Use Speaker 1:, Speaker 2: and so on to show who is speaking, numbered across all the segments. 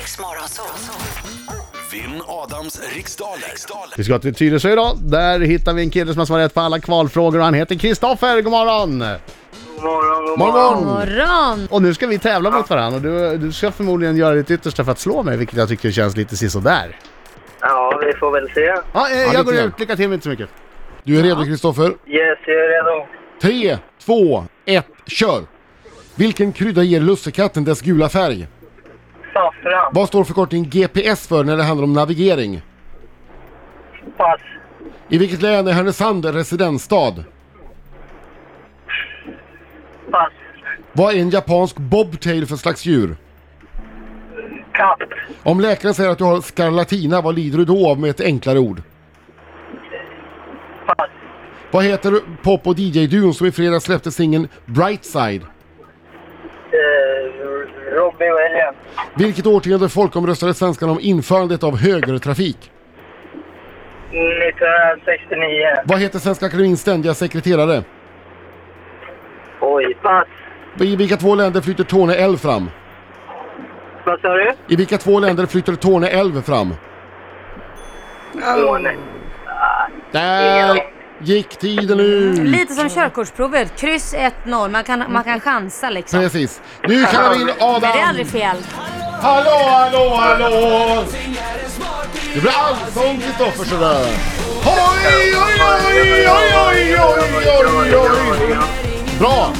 Speaker 1: Morgonzoo.
Speaker 2: Vinn Adams riksdaler. riksdaler.
Speaker 3: Vi ska till Tyresö idag. Där hittar vi en kille som har svarat på alla kvalfrågor och han heter Kristoffer. God morgon!
Speaker 4: God morgon, god
Speaker 3: Morgon!
Speaker 5: Morgon!
Speaker 3: Och nu ska vi tävla mot varandra och du, du ska förmodligen göra ditt yttersta för att slå mig, vilket jag tycker känns lite sisådär.
Speaker 4: Ja, vi får väl se.
Speaker 3: Ja, eh,
Speaker 6: lite
Speaker 3: jag går
Speaker 6: grann.
Speaker 3: ut. Lycka till men inte så mycket.
Speaker 6: Du är redo Kristoffer?
Speaker 4: Yes, jag är redo.
Speaker 6: 3, 2, 1, kör! Vilken krydda ger lussekatten dess gula färg?
Speaker 4: Saffran.
Speaker 6: Vad står förkortningen GPS för när det handlar om navigering?
Speaker 4: Pass.
Speaker 6: I vilket län är Härnösand residensstad?
Speaker 4: Pass.
Speaker 6: Vad är en japansk bobtail för slags djur?
Speaker 4: Katt.
Speaker 6: Om läkaren säger att du har skarlatina, vad lider du då av med ett enklare ord?
Speaker 4: Pass.
Speaker 6: Vad heter pop och DJ-duon som i fredags släppte singeln Brightside?
Speaker 4: Eh, Robin och Helene.
Speaker 6: Vilket årtionde folkomröstade svenskarna om införandet av högertrafik?
Speaker 4: 1969.
Speaker 6: Vad heter Svenska Akademiens ständiga sekreterare?
Speaker 4: Oj. Pass.
Speaker 6: I vilka två länder flyter Torne älv fram?
Speaker 4: Vad sa du?
Speaker 6: I vilka två länder flyter Torne älv fram?
Speaker 4: Åh, nej.
Speaker 6: Där gick tiden ut!
Speaker 5: Lite som körkortsprovet, kryss 1-0. Man kan, man kan chansa liksom.
Speaker 6: Precis. Nu kallar vi in
Speaker 5: Men det är
Speaker 6: Adam!
Speaker 5: aldrig fel.
Speaker 6: Hallå, hallå, hallå! Det blir allsång Kristoffer sådär. Oj, oj, oj, oj, oj, oj, oj, oj. Bra!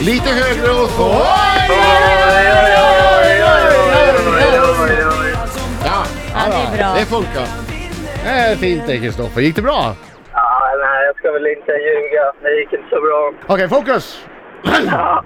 Speaker 6: Lite högre och så. Oj, oj, oj, oj, oj, oj, oj. Ja,
Speaker 5: Ja, det är bra.
Speaker 6: det funkar.
Speaker 3: Eh, fint det Kristoffer. Gick det bra?
Speaker 4: Ja, nej, jag ska väl inte ljuga. Det gick inte så bra.
Speaker 3: Okej, fokus!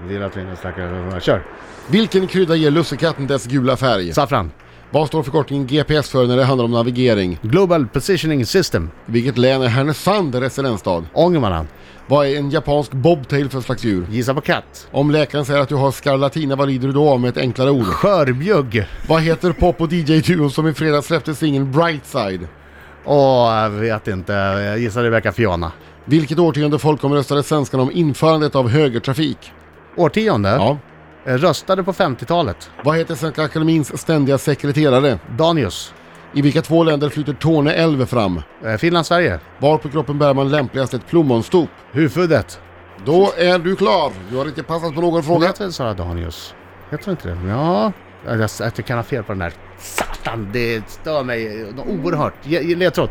Speaker 3: Vi gillar att vi inte snackar. Kör!
Speaker 6: Vilken krydda ger lussekatten dess gula färg?
Speaker 3: Saffran.
Speaker 6: Vad står förkortningen GPS för när det handlar om navigering?
Speaker 3: Global Positioning System.
Speaker 6: I vilket län är Härnösand residensstad?
Speaker 3: Ångermanland.
Speaker 6: Vad är en japansk bobtail för slags djur?
Speaker 3: Gissa på katt.
Speaker 6: Om läkaren säger att du har skarlatina, vad lider du då av med ett enklare ord?
Speaker 3: Skörbjugg.
Speaker 6: Vad heter pop och DJ-duon som i fredags släppte singeln Brightside?
Speaker 3: Åh, jag vet inte. Jag gissar Rebecca Fiona.
Speaker 6: Vilket årtionde folkomröstade svenskarna om införandet av högertrafik?
Speaker 3: Årtionde.
Speaker 6: Ja.
Speaker 3: Eh, Röstade på 50-talet.
Speaker 6: Vad heter Svenska Akademins ständiga sekreterare?
Speaker 3: Danius.
Speaker 6: I vilka två länder flyter Torne älv fram?
Speaker 3: Eh, Finland, Sverige.
Speaker 6: Var på kroppen bär man lämpligast ett plommonstop?
Speaker 3: Huvudfudet.
Speaker 6: Då är du klar! Du har inte passat på någon
Speaker 3: Hon
Speaker 6: fråga.
Speaker 3: heter väl Sara Danius? Heter hon inte det? Ja. Jag, jag, jag kan ha fel på den där. Satan, det stör mig oerhört. Ge- ge Ledtråd.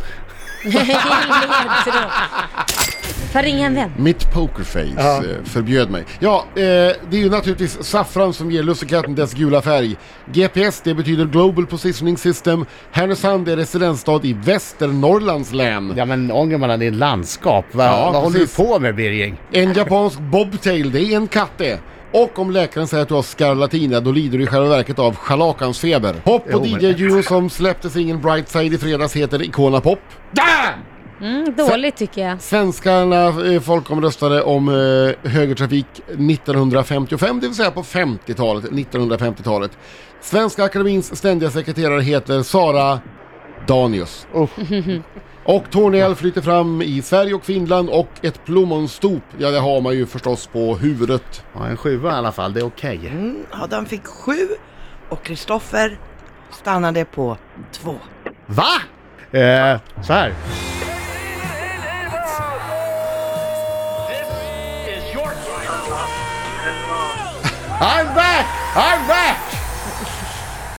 Speaker 5: Får jag ringa en vän?
Speaker 6: Mitt pokerface eh, förbjöd mig. Ja, eh, det är ju naturligtvis saffran som ger lussekatten dess gula färg. GPS, det betyder Global Positioning System. Härnösand är residensstad i Västernorrlands län.
Speaker 3: Ja men Ångermanland är ett landskap. Va,
Speaker 6: Ja,
Speaker 3: vad håller du
Speaker 6: precis.
Speaker 3: på med Birging?
Speaker 6: En japansk bobtail, det är en katt det. Och om läkaren säger att du har skarlatina, då lider du i själva verket av schalakansfeber. Pop
Speaker 3: Jo,
Speaker 6: och
Speaker 3: men-
Speaker 6: DJ-duon som släppte singeln Brightside i fredags heter Icona Pop.
Speaker 5: Mm, dåligt tycker jag.
Speaker 6: Svenskarna eh, folkomröstade om eh, högertrafik 1955, det vill säga på 50-talet, 1950-talet. Svenska Akademins ständiga sekreterare heter Sara Danius. Och Tornell flyter fram i Sverige och Finland och ett plommonstop, ja det har man ju förstås på huvudet.
Speaker 3: Ja, en sjua i alla fall, det är okej.
Speaker 7: Mm, Adam fick sju och Kristoffer stannade på två.
Speaker 3: Va? Eh, så här. I'm back! I'm back!